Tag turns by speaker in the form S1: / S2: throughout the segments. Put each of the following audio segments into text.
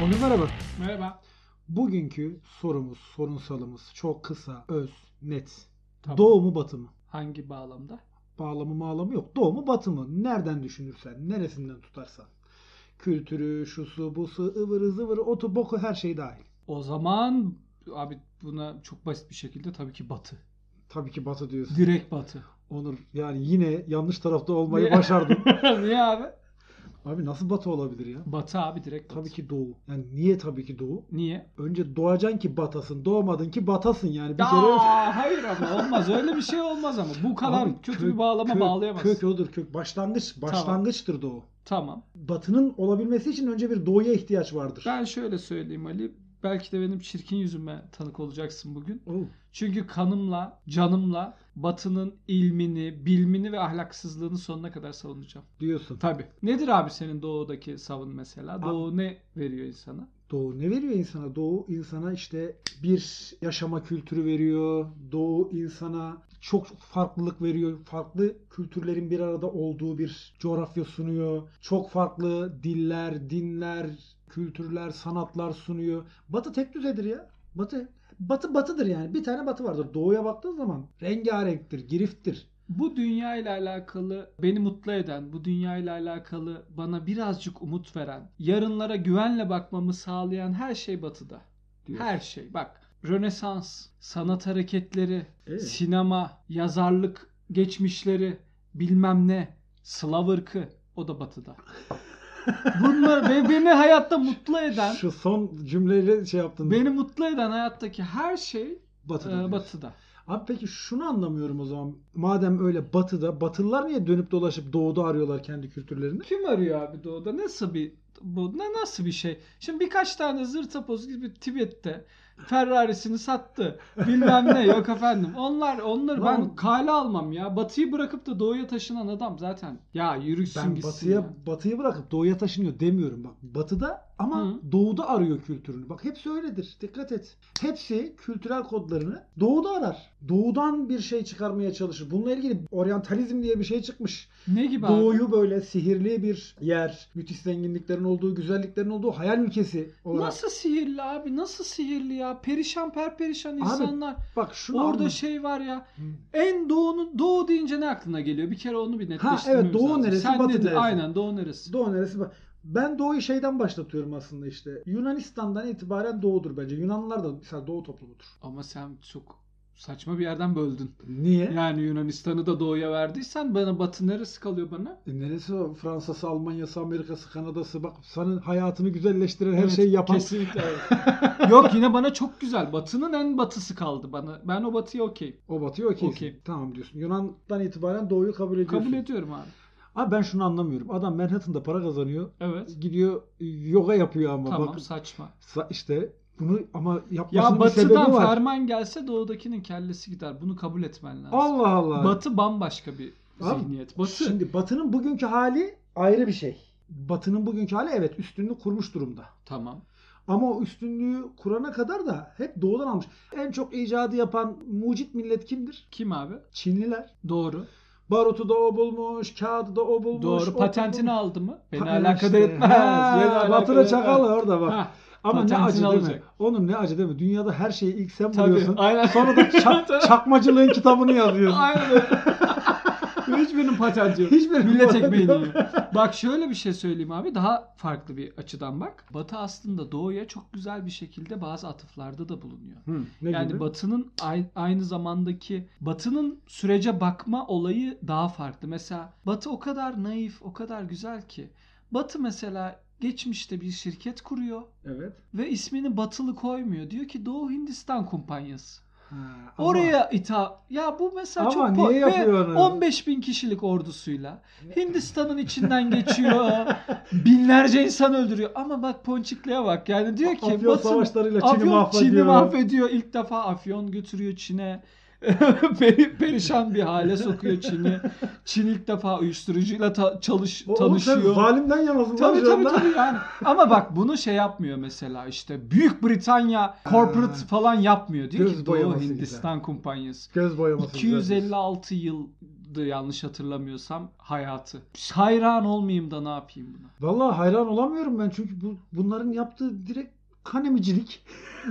S1: Merhaba.
S2: Merhaba.
S1: Bugünkü sorumuz, sorunsalımız çok kısa, öz, net.
S2: Tamam.
S1: Doğu mu batı mı?
S2: Hangi bağlamda?
S1: Bağlamı mağlamı yok. Doğu mu batı mı? Nereden düşünürsen, neresinden tutarsan. Kültürü, şusu, busu, ıvırı zıvırı, otu, boku her şey dahil.
S2: O zaman abi buna çok basit bir şekilde tabii ki batı.
S1: Tabii ki batı diyorsun.
S2: Direkt batı.
S1: Onur yani yine yanlış tarafta olmayı
S2: Niye?
S1: başardın.
S2: Niye abi?
S1: Abi nasıl batı olabilir ya?
S2: Batı abi direkt batı.
S1: Tabii ki doğu. Yani niye tabii ki doğu?
S2: Niye?
S1: Önce doğacaksın ki batasın. Doğmadın ki batasın yani. Bir kere
S2: Aa, hayır ama olmaz. Öyle bir şey olmaz ama. Bu kadar
S1: Abi
S2: kötü
S1: kök-
S2: bir bağlama
S1: kök-
S2: bağlayamazsın.
S1: Kök odur kök. Başlangıç. Başlangıçtır doğu.
S2: Tamam.
S1: Batının olabilmesi için önce bir doğuya ihtiyaç vardır.
S2: Ben şöyle söyleyeyim Ali. Belki de benim çirkin yüzüme tanık olacaksın bugün.
S1: Oo,
S2: Çünkü kanımla, canımla Batı'nın ilmini, bilmini ve ahlaksızlığını sonuna kadar savunacağım.
S1: diyorsun.
S2: Tabii. Nedir abi senin doğudaki savun mesela? Doğu ne veriyor insana?
S1: Doğu ne veriyor insana? Doğu insana işte bir yaşama kültürü veriyor. Doğu insana çok farklılık veriyor. Farklı kültürlerin bir arada olduğu bir coğrafya sunuyor. Çok farklı diller, dinler, kültürler, sanatlar sunuyor. Batı tek düzedir ya. Batı Batı batıdır yani. Bir tane batı vardır. Doğuya baktığın zaman rengarenktir, giriftir.
S2: Bu dünya ile alakalı beni mutlu eden, bu dünya ile alakalı bana birazcık umut veren, yarınlara güvenle bakmamı sağlayan her şey Batı'da.
S1: diyor.
S2: Her şey. Bak, Rönesans, sanat hareketleri,
S1: Evet.
S2: sinema, yazarlık geçmişleri, bilmem ne, Slav ırkı o da Batı'da. Bunlar ve beni hayatta mutlu eden,
S1: Şu son cümleyle şey yaptın.
S2: beni mutlu eden hayattaki her şey
S1: Batı'da.
S2: e,
S1: diyorsun.
S2: Batı'da.
S1: Ee, Abi peki şunu anlamıyorum o zaman. Madem öyle batıda, batılılar niye dönüp dolaşıp doğuda arıyorlar kendi kültürlerini?
S2: Kim arıyor abi doğuda? Nasıl bir bu ne nasıl bir şey? Şimdi birkaç tane zırtapoz gibi Tibet'te Ferrari'sini sattı. Bilmem ne yok efendim. Onlar onları ben
S1: Lan-
S2: kale almam ya. Batıyı bırakıp da doğuya taşınan adam zaten. Ya yürüksün
S1: Ben
S2: gitsin
S1: batıya
S2: ya.
S1: batıyı bırakıp doğuya taşınıyor demiyorum bak. Batıda ama
S2: Hı.
S1: doğuda arıyor kültürünü. Bak hepsi öyledir. Dikkat et. Hepsi kültürel kodlarını doğuda arar. Doğudan bir şey çıkarmaya çalışır. Bununla ilgili oryantalizm diye bir şey çıkmış.
S2: Ne gibi abi?
S1: Doğuyu böyle sihirli bir yer, müthiş zenginliklerin olduğu, güzelliklerin olduğu hayal ülkesi olarak.
S2: Nasıl sihirli abi? Nasıl sihirli ya? Perişan perperişan
S1: Abi,
S2: insanlar.
S1: Bak şunu
S2: Orada
S1: anla.
S2: şey var ya.
S1: Hı.
S2: En doğunu doğu deyince ne aklına geliyor? Bir kere onu bir netleştirmemiz
S1: evet, doğu
S2: lazım.
S1: neresi,
S2: Sen
S1: batı
S2: nedir?
S1: neresi?
S2: Aynen doğu neresi?
S1: Doğu neresi? Bak, Ben doğuyu şeyden başlatıyorum aslında işte. Yunanistan'dan itibaren doğudur bence. Yunanlılar da mesela doğu toplumudur.
S2: Ama sen çok saçma bir yerden böldün.
S1: Niye?
S2: Yani Yunanistan'ı da doğuya verdiysen bana batı neresi kalıyor bana?
S1: E neresi o? Fransa'sı, Almanya'sı, Amerika'sı, Kanada'sı. Bak senin hayatını güzelleştiren her
S2: Evet,
S1: şeyi yapan.
S2: Kesinlikle. evet. Yok yine bana çok güzel. Batının en batısı kaldı bana. Ben o batıya okey.
S1: O batıyor okeysin.
S2: Okey.
S1: Tamam diyorsun. Yunan'dan itibaren doğuyu kabul ediyorsun.
S2: Kabul ediyorum abi.
S1: Abi ben şunu anlamıyorum. Adam Manhattan'da para kazanıyor.
S2: Evet.
S1: Gidiyor e, yoga yapıyor ama.
S2: Tamam
S1: Bak,
S2: saçma.
S1: sa- işte bunu ama
S2: Ya
S1: yapmasının bir sebebi
S2: batıdan
S1: var.
S2: ferman gelse doğudakinin kellesi gider. Bunu kabul etmen lazım.
S1: Allah Allah.
S2: Batı bambaşka bir
S1: Abi,
S2: zihniyet. Batı
S1: Şimdi Batı'nın bugünkü hali ayrı bir şey. Batı'nın bugünkü hali evet üstünlüğü kurmuş durumda.
S2: tamam.
S1: Ama o üstünlüğü kurana kadar da hep doğudan almış. En çok icadı yapan mucit millet kimdir?
S2: Kim abi?
S1: Çinliler.
S2: Doğru.
S1: Barutu da o bulmuş, kağıdı da o bulmuş.
S2: Doğru.
S1: o
S2: Patentini
S1: bulmuş.
S2: aldı mı? Beni
S1: Pa-
S2: alakadar
S1: işte.
S2: etmez.
S1: Ha,
S2: Beni alakadar
S1: Batı'nın
S2: etmez.
S1: çakalı orada bak.
S2: Ha,
S1: Ama ne
S2: patentini
S1: acı değil mi?
S2: alacak.
S1: Onun ne acı değil mi? Dünyada her şeyi ilk sen
S2: Tabii.
S1: buluyorsun.
S2: Aynen.
S1: Sonra da çak- çakmacılığın kitabını yazıyorsun.
S2: Aynen öyle. Hiçbirinin patenti yok.
S1: Hiçbirinin
S2: Millet
S1: patenti
S2: ekmeğini
S1: yok.
S2: yiyor. Bak şöyle bir şey söyleyeyim abi. Daha farklı bir açıdan bak. Batı aslında doğuya çok güzel bir şekilde bazı atıflarda da bulunuyor.
S1: Hı, ne
S2: yani
S1: gibi?
S2: Batı'nın ay- aynı zamandaki Batı'nın sürece bakma olayı daha farklı. Mesela Batı o kadar naif, o kadar güzel ki. Batı mesela geçmişte bir şirket kuruyor
S1: Evet.
S2: ve ismini Batılı koymuyor. Diyor ki Doğu Hindistan Kumpanyası.
S1: Ha, ama-
S2: Oraya ita. Ya bu mesela
S1: Ama
S2: çok
S1: niye
S2: po- ve
S1: yapıyor onu?
S2: 15 bin kişilik ordusuyla Hindistan'ın içinden geçiyor. binlerce insan öldürüyor. Ama bak Ponçikli'ye bak. Yani diyor ki
S1: Afyon
S2: Batı
S1: savaşlarıyla Çin'i
S2: Afyon
S1: mahvediyor.
S2: Çin'i mahvediyor. İlk defa Afyon götürüyor Çin'e. Peri- perişan bir hale sokuyor Çin'i. Çin ilk defa uyuşturucuyla ta- çalış
S1: Oğlum sen
S2: tanışıyor.
S1: zalimden yanasın.
S2: Tabii tabii tabii yani. Ama bak bunu şey yapmıyor mesela işte Büyük Britanya corporate
S1: Ha.
S2: falan yapmıyor. Diyor
S1: Göz
S2: ki Doğu
S1: boyaması
S2: Hindistan Kumpanyası.
S1: Göz boyaması.
S2: 256 yıldı yanlış hatırlamıyorsam hayatı. Hayran olmayayım da ne yapayım buna.
S1: Valla hayran olamıyorum ben çünkü bu bunların yaptığı direkt kanemicilik.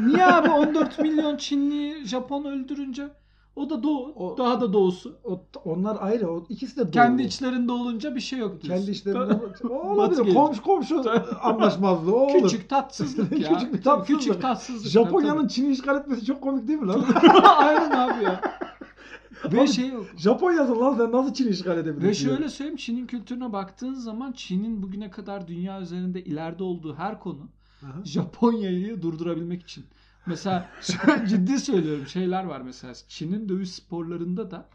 S2: Niye abi 14 milyon Çinli Japon öldürünce o da doğu.
S1: O-
S2: daha da doğusu.
S1: O, onlar ayrı. O, ikisi de doğru.
S2: Kendi içlerinde olunca bir şey yok diyorsun.
S1: Kendi içlerinde. o
S2: Batı
S1: olabilir.
S2: gelir.
S1: Komşu komşu anlaşmazlığı. O olur.
S2: Küçük tatsızlık ya.
S1: Küçük bir
S2: Tabii,
S1: tatsızlık.
S2: Küçük tatsızlık.
S1: Japonya'nın Çin'i işgal etmesi çok komik değil mi lan?
S2: Tabii. Aynen abi ya. Ve
S1: Abi,
S2: şey yok.
S1: Japonya'da lan sen nasıl Çin'i işgal edebilirsin?
S2: Ve
S1: ya?
S2: şöyle söyleyeyim Çin'in kültürüne baktığın zaman Çin'in bugüne kadar dünya üzerinde ileride olduğu her konu
S1: Aha.
S2: Japonya'yı durdurabilmek için. Mesela şöyle ciddi söylüyorum şeyler var mesela Çin'in dövüş sporlarında da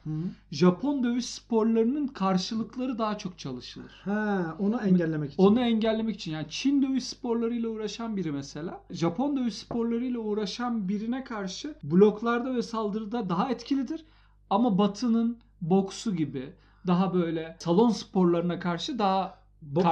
S2: Japon dövüş sporlarının karşılıkları daha çok çalışılır.
S1: Ha, onu engellemek için.
S2: Onu engellemek için yani Çin dövüş sporlarıyla uğraşan biri mesela Japon dövüş sporlarıyla uğraşan birine karşı bloklarda ve saldırıda daha etkilidir. Ama Batı'nın boksu gibi daha böyle salon sporlarına karşı daha
S1: Boks, boksu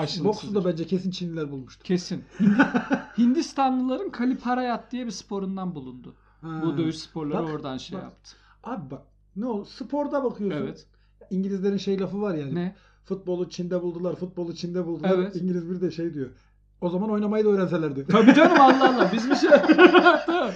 S1: da
S2: karşılıksızdır.
S1: bence kesin Çinliler bulmuştu.
S2: kesin. Hindi- Hindistanlıların Kaliparayat diye bir sporundan bulundu.
S1: Ha.
S2: Bu dövüş sporları
S1: Bak,
S2: oradan şey
S1: bak.
S2: yaptı.
S1: Abi bak ne o sporda bakıyorsun.
S2: Evet.
S1: İngilizlerin şey lafı var yani.
S2: Ne?
S1: Futbolu Çin'de buldular, futbolu Çin'de buldular.
S2: Evet.
S1: İngiliz biri de şey diyor. O zaman oynamayı da öğrenselerdi.
S2: Tabii canım Allah Allah biz bir şey... Tabii.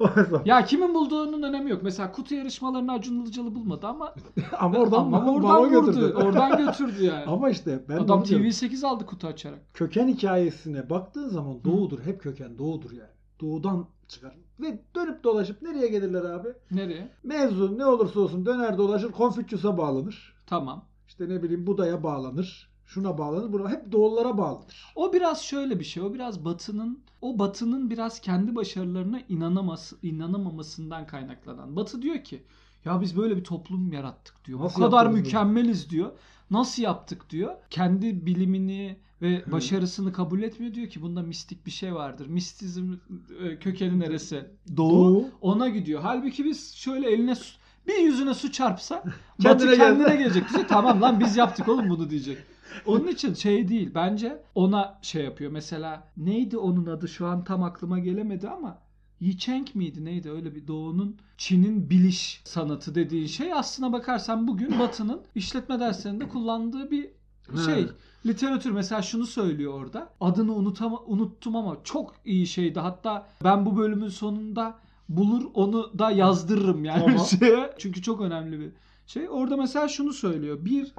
S1: o zaman.
S2: Ya kimin bulduğunun önemi yok. Mesela kutu yarışmalarını Acun Ilıcalı bulmadı ama
S1: Ama oradan
S2: ama
S1: bana-
S2: oradan
S1: bana
S2: vurdu.
S1: götürdü.
S2: Oradan götürdü yani.
S1: Ama işte ben
S2: Adam
S1: onu diyorum.
S2: TV8 aldı kutu açarak.
S1: köken hikayesine baktığın zaman doğudur. Hep köken doğudur yani. Doğudan çıkar. Ve dönüp dolaşıp nereye gelirler abi?
S2: Nereye?
S1: Mezun ne olursa olsun döner dolaşır Konfüçyüs'e bağlanır.
S2: Tamam.
S1: İşte ne bileyim Buda'ya bağlanır. Şuna bağlanır. Buna hep doğullara bağlanır.
S2: O biraz şöyle bir şey. O biraz Batı'nın o Batı'nın biraz kendi başarılarına inanaması, inanamamasından kaynaklanan. Batı diyor ki ya biz böyle bir toplum yarattık diyor.
S1: Nasıl
S2: bu kadar
S1: yaptınız bunu?"
S2: mükemmeliz diyor. Nasıl yaptık diyor. Kendi bilimini ve başarısını kabul etmiyor diyor ki bunda mistik bir şey vardır. Mistizm e, kökeni neresi? Doğu.
S1: Doğu.
S2: ona gidiyor. Halbuki biz şöyle eline su- bir yüzüne su çarpsa
S1: Kendine geldi.
S2: Batı kendine gelecek. Diyecek, tamam lan biz yaptık oğlum bunu diyecek. Onun için şey değil. Bence ona şey yapıyor. Mesela neydi onun adı şu an tam aklıma gelemedi ama Yicheng miydi neydi öyle bir doğunun Çin'in biliş sanatı dediği şey aslına bakarsan bugün Batı'nın işletme derslerinde kullandığı bir şey
S1: Ha.
S2: literatür mesela şunu söylüyor orada. Adını unutama, unuttum ama çok iyi şeydi. Hatta ben bu bölümün sonunda bulur onu da yazdırırım yani
S1: Tamam.
S2: şeye. Çünkü çok önemli bir şey. Orada mesela şunu söylüyor. Bir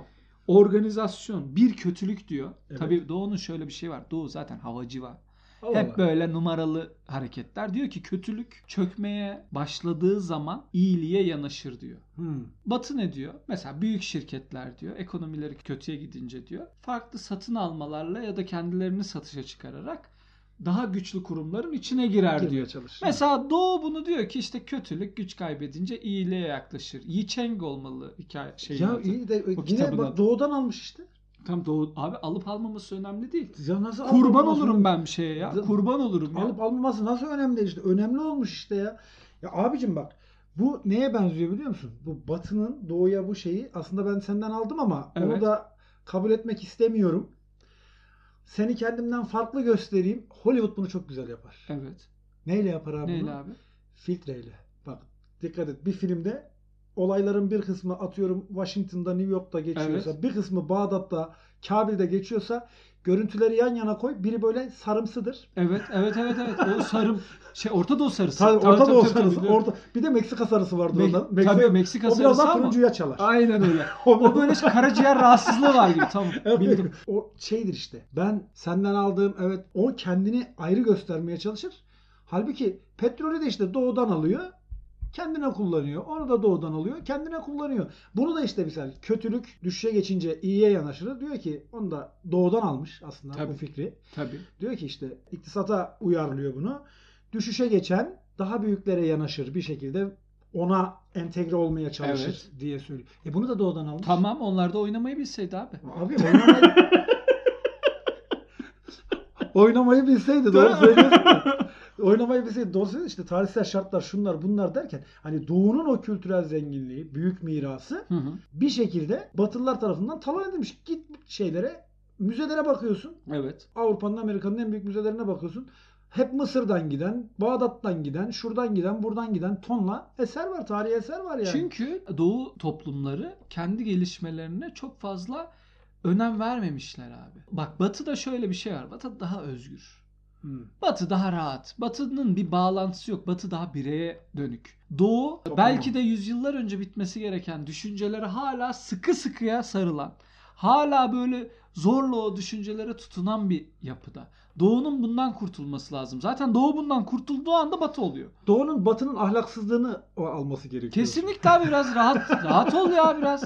S2: organizasyon, bir kötülük diyor.
S1: Evet.
S2: Tabii Doğu'nun şöyle bir şey var. Doğu zaten havacı var.
S1: Allah
S2: Hep böyle numaralı hareketler. Diyor ki kötülük çökmeye başladığı zaman iyiliğe yanaşır diyor.
S1: Hmm.
S2: Batı ne diyor? Mesela büyük şirketler diyor ekonomileri kötüye gidince diyor. Farklı satın almalarla ya da kendilerini satışa çıkararak daha güçlü kurumların içine girer
S1: Girmeye
S2: diyor.
S1: çalışır.
S2: Mesela Doğu bunu diyor ki işte kötülük güç kaybedince iyiliğe yaklaşır. Yi Cheng olmalı hikaye şeyin
S1: ya
S2: adı.
S1: iyi de yine
S2: kitabın
S1: bak
S2: adı.
S1: doğudan almış işte.
S2: Tam Doğu abi alıp almaması önemli değil.
S1: Ya nasıl alıp
S2: Kurban
S1: almaması-
S2: olurum ben bir şeye ya.
S1: Z-
S2: Kurban olurum ya.
S1: Alıp almaması nasıl önemli işte. Önemli olmuş işte ya. Ya abicim bak bu neye benziyor biliyor musun? Bu batının doğuya bu şeyi aslında ben senden aldım ama onu
S2: Evet.
S1: da kabul etmek istemiyorum. Seni kendimden farklı göstereyim. Hollywood bunu çok güzel yapar.
S2: Evet.
S1: Neyle yapar abi
S2: Neyle
S1: bunu?
S2: abi?
S1: Filtreyle. Bak dikkat et bir filmde olayların bir kısmı atıyorum Washington'da New York'ta geçiyorsa bir kısmı Bağdat'ta Kabil'de geçiyorsa görüntüleri yan yana koy. Biri böyle sarımsıdır.
S2: Evet, evet, evet, evet. O sarım şey Orta Doğu sarısı.
S1: Tabii,
S2: Tabii,
S1: orta
S2: tabii,
S1: Doğu
S2: tabii,
S1: sarısı.
S2: tabii.
S1: Orta, bir de Meksika sarısı vardı
S2: Me-
S1: ondan. Meksika,
S2: tabii Meksika
S1: o biraz
S2: sarısı
S1: daha
S2: ama.
S1: turuncuya çalar.
S2: Aynen öyle. O böyle işte karaciğer rahatsızlığı var gibi. Tamam bildim.
S1: O şeydir işte. Ben senden aldığım evet o kendini ayrı göstermeye çalışır. Halbuki petrolü de işte doğudan alıyor. Kendine kullanıyor. Onu da doğudan alıyor. Kendine kullanıyor. Bunu da işte mesela kötülük düşüşe geçince iyiye yanaşır. Diyor ki onu da doğudan almış aslında bu
S2: Tabii.
S1: fikri.
S2: Tabii.
S1: Diyor ki işte iktisata uyarlıyor bunu. Düşüşe geçen daha büyüklere yanaşır bir şekilde ona entegre olmaya çalışır
S2: Evet.
S1: diye söylüyor. E bunu da doğudan almış.
S2: Tamam onlar da oynamayı bilseydi abi.
S1: Abi oynamayı... oynamayı bilseydi doğru söylüyorsun. oynamayı bilseydi doğru söylüyorsun. İşte tarihsel şartlar şunlar bunlar derken hani doğunun o kültürel zenginliği, büyük mirası
S2: Hı hı.
S1: bir şekilde batılılar tarafından talan edilmiş. Git şeylere, müzelere bakıyorsun.
S2: Evet.
S1: Avrupa'nın Amerika'nın en büyük müzelerine bakıyorsun. Hep Mısır'dan giden, Bağdat'tan giden, şuradan giden, buradan giden tonla eser var. Tarihi eser var yani.
S2: Çünkü Doğu toplumları kendi gelişmelerine çok fazla önem vermemişler abi. Bak Batı'da şöyle bir şey var. Batı daha özgür.
S1: Hı.
S2: Batı daha rahat. Batı'nın bir bağlantısı yok. Batı daha bireye dönük. Doğu belki de yüzyıllar önce bitmesi gereken düşüncelere hala sıkı sıkıya sarılan, hala böyle zorla o düşüncelere tutunan bir yapıda. Doğu'nun bundan kurtulması lazım. Zaten Doğu bundan kurtulduğu anda Batı oluyor.
S1: Doğu'nun Batı'nın ahlaksızlığını o- alması gerekiyor.
S2: Kesinlikle abi biraz rahat rahat ol ya biraz.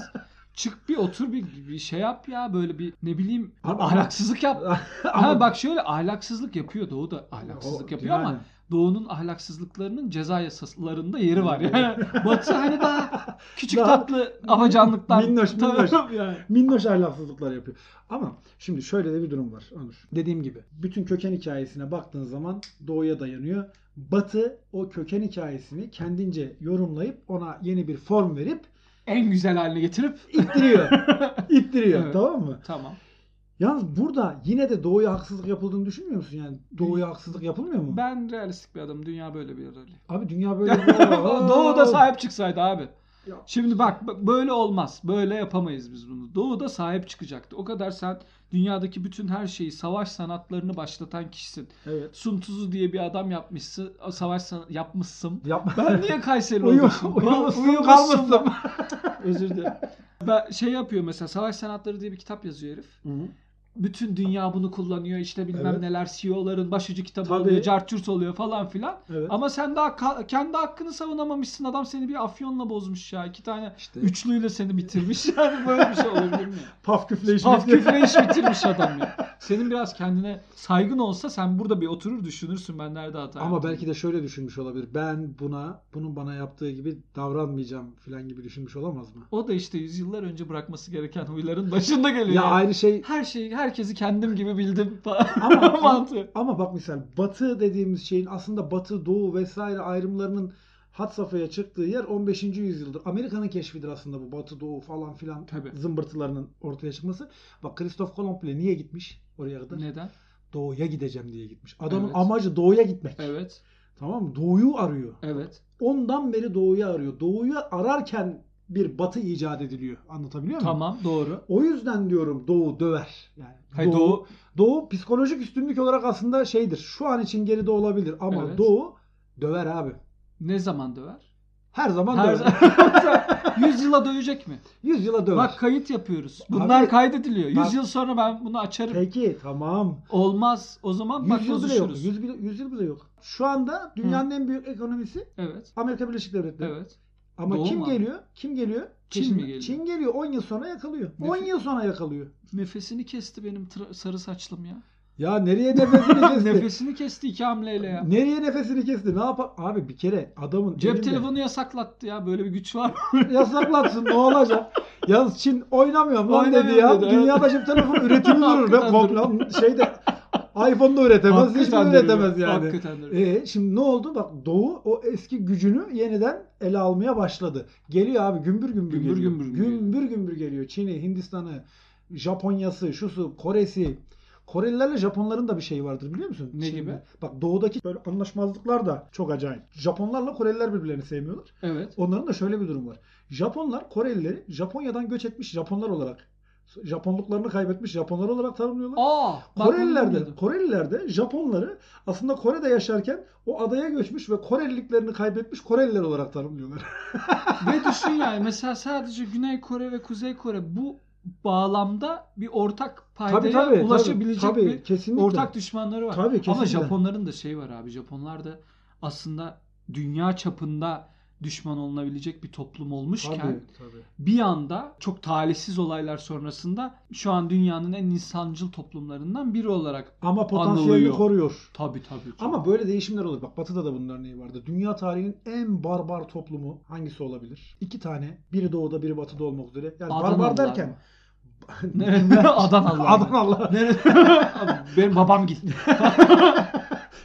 S2: Çık bir otur bir, bir şey yap ya böyle bir ne bileyim
S1: Ama-
S2: ahlaksızlık yap.
S1: ama
S2: Ha bak şöyle ahlaksızlık yapıyor Doğu da ahlaksızlık
S1: O-
S2: yapıyor ama
S1: yani.
S2: Doğu'nun ahlaksızlıklarının ceza yasalarında yeri var. Yani Batı hani daha küçük
S1: Daha
S2: tatlı afacanlıktan.
S1: minnoş,
S2: Tabii,
S1: minnoş.
S2: tabii yani.
S1: minnoş ahlaksızlıklar yapıyor. Ama şimdi şöyle de bir durum var Onur. Dediğim gibi bütün köken hikayesine baktığın zaman doğuya dayanıyor. Batı o köken hikayesini kendince yorumlayıp ona yeni bir form verip
S2: En güzel haline getirip
S1: ittiriyor. ittiriyor
S2: Evet.
S1: tamam mı?
S2: tamam.
S1: Yalnız burada yine de doğuya haksızlık yapıldığını düşünmüyor musun? Yani doğuya haksızlık yapılmıyor mu?
S2: Ben realistik bir adamım. Dünya böyle bir yer öyle.
S1: Abi dünya böyle.
S2: Doğu da sahip çıksaydı abi.
S1: Ya.
S2: Şimdi bak b- böyle olmaz. Böyle yapamayız biz bunu. Doğu da sahip çıkacaktı. O kadar sen dünyadaki bütün her şeyi savaş sanatlarını başlatan kişisin.
S1: Evet.
S2: Sun Tzu diye bir adam yapmışsın. Savaş san- yapmışsın.
S1: Yapma.
S2: Ben niye Kayseri
S1: Uyu,
S2: olmuşum?
S1: uyumuşsun,
S2: Uyumuşsun
S1: kalmışsın.
S2: ben. Özür dilerim. Ben şey yapıyor mesela Savaş Sanatları diye bir kitap yazıyor herif. Bütün dünya bunu kullanıyor. İşte bilmem
S1: Evet.
S2: neler CEO'ların başucu kitabı
S1: Tabii.
S2: oluyor. Cartürt oluyor falan filan.
S1: Evet.
S2: Ama sen daha ka- kendi hakkını savunamamışsın. Adam seni bir afyonla bozmuş ya. İki tane
S1: İşte
S2: üçlüyle seni bitirmiş. Yani böyle bir şey olabilir mi?
S1: paf küfleyiş.
S2: Paf küfre iş bitirmiş adam ya. Senin biraz kendine saygın olsa sen burada bir oturur düşünürsün ben nerede hata
S1: Ama
S2: yaptım.
S1: belki de şöyle düşünmüş olabilir. Ben buna, bunun bana yaptığı gibi davranmayacağım filan gibi düşünmüş olamaz mı?
S2: O da işte yüzyıllar önce bırakması gereken huyların başında geliyor.
S1: Ya
S2: yani.
S1: aynı şey
S2: Her şeyi, herkesi kendim gibi bildim falan.
S1: Ama-
S2: mantığı.
S1: ama bak misal batı dediğimiz şeyin aslında batı, doğu vesaire ayrımlarının hat safhaya çıktığı yer 15. yüzyıldır. Amerika'nın keşfidir aslında bu batı, doğu falan filan
S2: Tabii.
S1: zımbırtılarının ortaya çıkması. Bak Christoph Kolomb bile niye gitmiş oraya kadar?
S2: Neden?
S1: Doğuya gideceğim diye gitmiş. Adamın
S2: Evet.
S1: amacı doğuya gitmek.
S2: Evet.
S1: Tamam mı? Doğuyu arıyor.
S2: Evet.
S1: Ondan beri doğuyu arıyor. Doğuyu ararken bir batı icat ediliyor. Anlatabiliyor muyum?
S2: Tamam doğru.
S1: O yüzden diyorum doğu döver. Yani
S2: Hayır,
S1: doğu,
S2: doğu.
S1: doğu psikolojik üstünlük olarak aslında şeydir. Şu an için geride olabilir ama
S2: Evet.
S1: doğu döver abi.
S2: ne zaman döver?
S1: Her zaman
S2: Her
S1: döver.
S2: zaman. 100 yıla dövecek mi?
S1: 100 yıla döver.
S2: Bak kayıt yapıyoruz. Bunlar
S1: Abi-
S2: kaydediliyor. 100
S1: Bak-
S2: yıl sonra ben bunu açarım.
S1: Peki tamam.
S2: Olmaz. O zaman
S1: 100
S2: bak
S1: yıl bile yok.
S2: bozuşuruz.
S1: 100, bile- 100 yıl bile yok. Şu anda dünyanın en büyük ekonomisi
S2: Evet.
S1: Amerika Birleşik Devletleri.
S2: Evet.
S1: Ama
S2: Doğu
S1: kim
S2: mu?
S1: geliyor? Kim geliyor?
S2: Çin mi
S1: Peşinden.
S2: geliyor?
S1: Çin geliyor. 10 yıl sonra yakalıyor. 10
S2: Nefes-
S1: yıl sonra yakalıyor.
S2: Nefesini kesti benim tra- sarı saçlım ya.
S1: Ya nereye nefesini kesti?
S2: Nefesini kesti iki hamleyle ya.
S1: Nereye nefesini kesti? Ne yapar? Abi bir kere adamın
S2: Cep
S1: elinde-
S2: telefonu yasaklattı ya. Böyle bir güç var.
S1: yasaklatsın ne olacak? Yalnız Çin oynamıyor lan dedi
S2: Oynamıyor
S1: ya.
S2: dedi,
S1: Dünyada cep telefonu üretimi durur. Be,
S2: Hakikaten
S1: komple, şeyde iPhone'da üretemez. Hiçbir
S2: Hakikaten duruyor.
S1: üretemez yani.
S2: Hakikaten duruyor.
S1: Ee, şimdi ne oldu? Bak Doğu o eski gücünü yeniden ele almaya başladı. Geliyor abi gümbür gümbür,
S2: Gümbür
S1: geliyor.
S2: gümbür
S1: gümbür gümbür geliyor. Çin'i, Hindistan'ı, Japonya'sı, şusu, Kore'si. Korelilerle Japonların da bir şeyi vardır biliyor musun?
S2: Ne gibi?
S1: Bak doğudaki böyle anlaşmazlıklar da çok acayip. Japonlarla Koreliler birbirlerini sevmiyorlar.
S2: Evet.
S1: Onların da şöyle bir durum var. Japonlar Korelileri Japonya'dan göç etmiş Japonlar olarak Japonluklarını kaybetmiş Japonlar olarak tanımlıyorlar.
S2: Aa, bak bunu
S1: Koreliler de,
S2: bilmiyordum.
S1: Koreliler de Japonları aslında Kore'de yaşarken o adaya göçmüş ve Koreliliklerini kaybetmiş Koreliler olarak tanımlıyorlar.
S2: Ve düşün yani mesela sadece Güney Kore ve Kuzey Kore bu bağlamda bir ortak paydaya ulaşabilecek
S1: tabii,
S2: bir
S1: kesinlikle.
S2: ortak düşmanları var.
S1: Tabii,
S2: Ama
S1: kesinlikle.
S2: Japonların da şey var abi. Japonlar da aslında dünya çapında düşman olunabilecek bir toplum olmuşken
S1: tabii, tabii.
S2: bir anda çok talihsiz olaylar sonrasında şu an dünyanın en insancıl toplumlarından biri olarak
S1: Ama potansiyelini
S2: Anılıyor.
S1: koruyor.
S2: tabii tabii. tabii.
S1: Ama böyle değişimler olur. Bak Batı'da da bunun örneği vardı. Dünya tarihinin en barbar toplumu hangisi olabilir? İki tane. Biri doğuda biri batıda olmak üzere. Yani barbar
S2: Adanalılar
S1: derken.
S2: mı? Ne? Adanalılar.
S1: Adanalılar.
S2: Nerede? Abi, Benim babam gitti.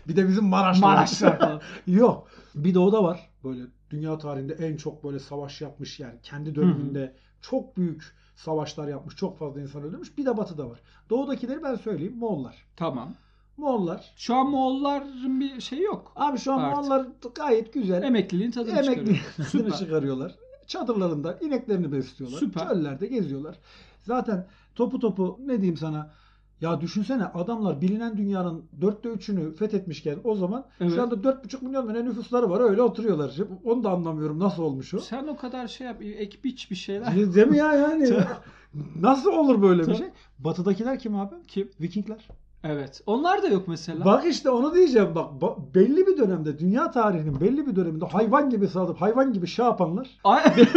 S1: Bir de bizim Maraşlar.
S2: Maraşlar falan.
S1: Yok. Bir doğuda var. Böyle dünya tarihinde en çok böyle savaş yapmış yani kendi döneminde çok büyük savaşlar yapmış. Çok fazla insan öldürmüş. Bir de batıda var. Doğudakileri ben söyleyeyim. Moğollar.
S2: Tamam.
S1: Moğollar.
S2: Şu an Moğolların bir şey yok.
S1: Abi şu an
S2: Artık.
S1: Moğollar gayet güzel.
S2: Emekliliğin tadını
S1: Emekli
S2: çıkarıyor.
S1: tadını
S2: Süper.
S1: çıkarıyorlar. Çadırlarında ineklerini besliyorlar.
S2: Süper.
S1: Çöllerde geziyorlar. Zaten topu topu ne diyeyim sana Ya düşünsene adamlar bilinen dünyanın dörtte üçünü fethetmişken o zaman
S2: Evet.
S1: şu anda dört buçuk milyon tane nüfusları var öyle oturuyorlar. Onu da anlamıyorum nasıl olmuş o.
S2: Sen o kadar şey yap, ek biç bir şeyler.
S1: Değil mi ya yani? nasıl olur böyle bir
S2: Tabii.
S1: şey? Batıdakiler kim abi?
S2: Kim?
S1: Vikingler.
S2: Evet. Onlar da yok mesela.
S1: Bak işte onu diyeceğim bak ba- belli bir dönemde dünya tarihinin belli bir döneminde hayvan gibi saldırıp hayvan gibi şey yapanlar
S2: Ay-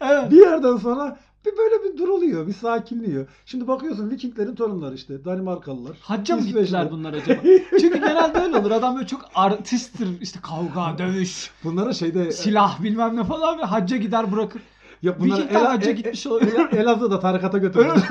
S2: evet.
S1: bir yerden sonra bir böyle bir duruluyor, bir sakinliyor. Şimdi bakıyorsun Vikinglerin torunları işte Danimarkalılar.
S2: Hacca mı
S1: İsveçliler.
S2: gittiler bunlar acaba? Çünkü genelde öyle olur. Adam böyle çok artisttir. İşte kavga, dövüş,
S1: Bunlara şeyde
S2: silah bilmem ne falan ve hacca gider bırakır.
S1: ya bunlara
S2: Vikingler hacca
S1: El-
S2: gitmiş olabilir.
S1: El- E- Elazığ'da tarikata götürdüler.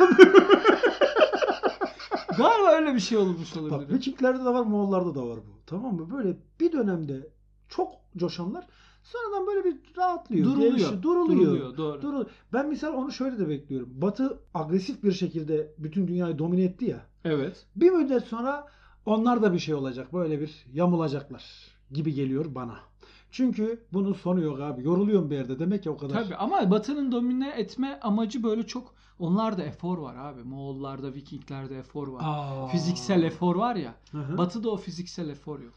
S2: Galiba öyle bir şey olmuş
S1: Bak
S2: olabilir.
S1: Vikinglerde de var, Moğollarda da var bu. Tamam mı? Böyle bir dönemde çok coşanlar sonradan böyle bir rahatlıyor.
S2: Duruluyor.
S1: gevşiyor, duruluyor.
S2: Duruluyor. Doğru.
S1: Durul- Ben misal onu şöyle de bekliyorum. Batı agresif bir şekilde bütün dünyayı domine etti ya.
S2: Evet.
S1: Bir müddet sonra onlar da bir şey olacak. Böyle bir yamulacaklar gibi geliyor bana. Çünkü bunun sonu yok abi. Yoruluyorum bir yerde. Demek ki o kadar.
S2: Tabii ama Batı'nın domine etme amacı böyle çok onlarda efor var abi. Moğollarda, Vikinglerde efor var.
S1: Aa.
S2: Fiziksel efor var ya.
S1: Hı hı.
S2: Batı'da o fiziksel efor yok.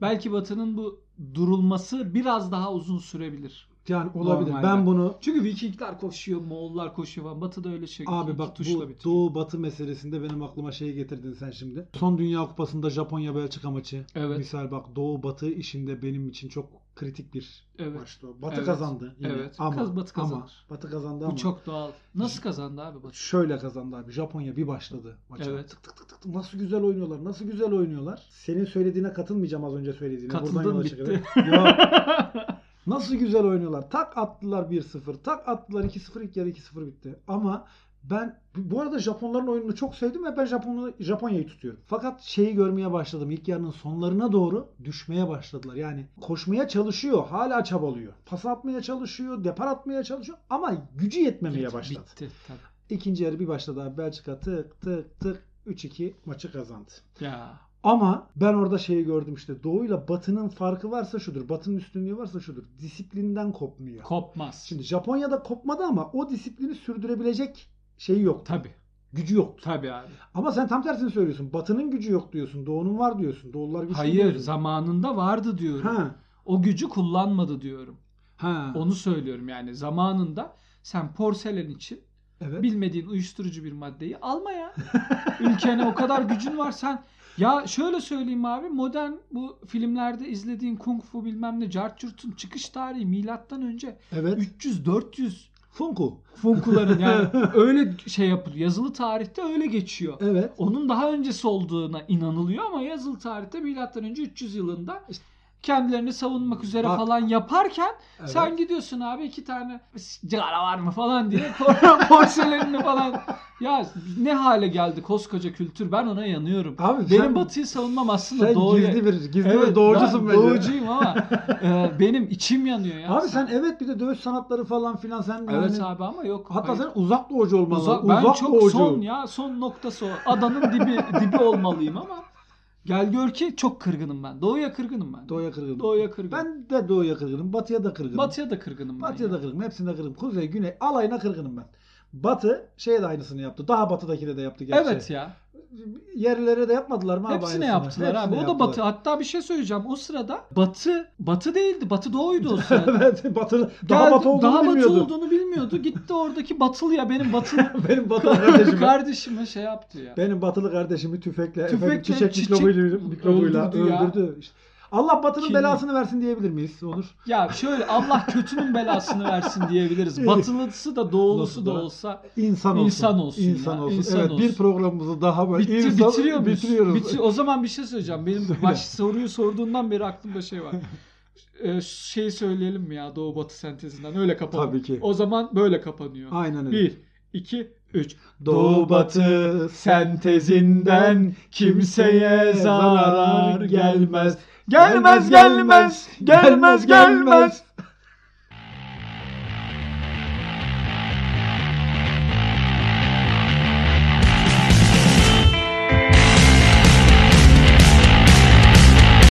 S2: Belki Batı'nın bu durulması biraz daha uzun sürebilir.
S1: yani olabilir.
S2: Normalde.
S1: Ben bunu
S2: Çünkü Vikingler koşuyor, Moğollar koşuyor falan. Batı'da öyle şey. yok.
S1: Abi
S2: İki
S1: bak
S2: tuşla
S1: bu
S2: bitiyor.
S1: Doğu Batı meselesinde benim aklıma şeyi getirdin sen şimdi. Son Dünya Kupası'nda Japonya Belçika maçı.
S2: Evet.
S1: Misal bak Doğu Batı işinde benim için çok kritik bir
S2: Evet.
S1: maçtı. o. Batı
S2: Evet.
S1: kazandı yine.
S2: Evet.
S1: Ama,
S2: Kaz- Batı
S1: ama-
S2: kazanır.
S1: Batı kazandı ama
S2: Bu çok doğal. Nasıl kazandı abi Batı?
S1: şöyle kazandı abi. Japonya bir başladı maça.
S2: Evet.
S1: Tık tık tık tık. Nasıl güzel oynuyorlar. Nasıl güzel oynuyorlar. Senin söylediğine katılmayacağım az önce söylediğine. Buradan
S2: Katıldın,
S1: yola
S2: bitti.
S1: çıkarak. Ya, nasıl güzel oynuyorlar. Tak attılar 1-0. Tak attılar 2-0. İlk yarı 2-0 bitti. Ama ben bu arada Japonların oyununu çok sevdim ve ben Japonlu, Japonya'yı tutuyorum. Fakat şeyi görmeye başladım. İlk yarının sonlarına doğru düşmeye başladılar. Yani koşmaya çalışıyor. Hala çabalıyor. Pas atmaya çalışıyor. Depar atmaya çalışıyor. Ama gücü yetmemeye başladı.
S2: Bitti. Tabii.
S1: İkinci yarı bir başladı abi. Belçika tık tık tık 3-2 maçı kazandı.
S2: Ya.
S1: Ama ben orada şeyi gördüm işte. Doğuyla batının farkı varsa şudur. Batının üstünlüğü varsa şudur. Disiplinden kopmuyor.
S2: Kopmaz.
S1: Şimdi Japonya'da kopmadı ama o disiplini sürdürebilecek şeyi yok.
S2: Tabii.
S1: Gücü yoktu.
S2: Tabii abi.
S1: Ama sen tam tersini söylüyorsun. Batının gücü yok diyorsun. Doğunun var diyorsun. Doğullar güçlü
S2: Hayır
S1: diyorsun.
S2: zamanında vardı diyorum.
S1: Ha.
S2: O gücü kullanmadı diyorum.
S1: Ha.
S2: Onu söylüyorum yani zamanında sen porselen için
S1: evet.
S2: bilmediğin uyuşturucu bir maddeyi alma ya. Ülkene o kadar gücün var sen. Ya şöyle söyleyeyim abi modern bu filmlerde izlediğin kung fu bilmem ne cartçurtun çıkış tarihi milattan önce
S1: evet.
S2: 300-400
S1: Funku.
S2: funkuların yani öyle şey yapılıyor. Yazılı tarihte öyle geçiyor.
S1: Evet.
S2: Onun daha öncesi olduğuna inanılıyor ama yazılı tarihte milattan önce 300 yılında kendilerini savunmak üzere
S1: Bak.
S2: falan yaparken
S1: Evet.
S2: sen gidiyorsun abi iki tane sigara var mı falan diye por- porselenini falan. Ya ne hale geldi koskoca kültür ben ona yanıyorum.
S1: Abi
S2: Benim
S1: sen-
S2: batıyı savunmam aslında
S1: sen
S2: doğuyu.
S1: gizli bir gizli bir
S2: Evet,
S1: doğucusun
S2: ben
S1: bence.
S2: Doğucuyum ama e, benim içim yanıyor ya.
S1: Abi sen evet bir de dövüş sanatları falan filan sen
S2: Evet
S1: yani-
S2: abi ama yok.
S1: Hatta
S2: hayır.
S1: sen uzak doğucu olmalı.
S2: Uzak,
S1: Uzak,
S2: ben çok
S1: doğucu.
S2: son ya son noktası o. Adanın dibi dibi olmalıyım ama gel gör ki çok kırgınım ben. Doğuya kırgınım ben.
S1: Doğuya kırgınım.
S2: Doğuya kırgınım.
S1: Ben de doğuya kırgınım. Batıya da kırgınım.
S2: Batıya da kırgınım ben.
S1: Batıya
S2: ya.
S1: da kırgınım. Hepsine kırgınım. Kuzey, güney. Alayına kırgınım ben. Batı şeye de aynısını yaptı. Daha batıdakine de yaptı gerçi.
S2: Evet ya.
S1: Yerlilere de yapmadılar mı? abi
S2: Hepsine
S1: aynısını?
S2: yaptılar
S1: Hepsine
S2: abi. O da
S1: yaptılar.
S2: batı. Hatta bir şey söyleyeceğim. O sırada batı batı değildi. Batı doğuydu o sırada.
S1: evet. Batı, daha
S2: Geldi,
S1: batı olduğunu
S2: daha batı
S1: bilmiyordu.
S2: olduğunu bilmiyordu. Gitti oradaki batılı ya benim batılı
S1: Benim batılı kardeşim.
S2: kardeşime şey yaptı ya.
S1: Benim batılı kardeşimi tüfekle,
S2: Tüfekle,
S1: efendim, çiçek,
S2: çiçek
S1: mikrobuyla, mikrobuyla
S2: öldürdü ya.
S1: öldürdü. İşte. Allah batının
S2: Kinli.
S1: belasını versin diyebilir miyiz Onur?
S2: Ya şöyle Allah kötünün belasını versin diyebiliriz. Batılısı da doğulusu da
S1: Nasıl da?
S2: olsa
S1: İnsan olsun.
S2: İnsan olsun
S1: İnsan
S2: ya,
S1: olsun.
S2: insan
S1: evet,
S2: olsun.
S1: bir programımızı daha böyle
S2: Bitti,
S1: insan-
S2: bitiriyor muyuz?
S1: bitiriyoruz.
S2: Bitir- o zaman bir şey söyleyeceğim. Benim
S1: Söyle.
S2: baş soruyu sorduğundan beri aklımda şey var. Ee, şey söyleyelim mi ya Doğu Batı sentezinden öyle kapanıyor.
S1: Tabii ki.
S2: O zaman böyle kapanıyor.
S1: Aynen öyle.
S2: 1 2 3
S1: Doğu batı
S2: sentezinden
S1: kimseye zarar gelmez.
S2: Gelmez gelmez gelmez gelmez.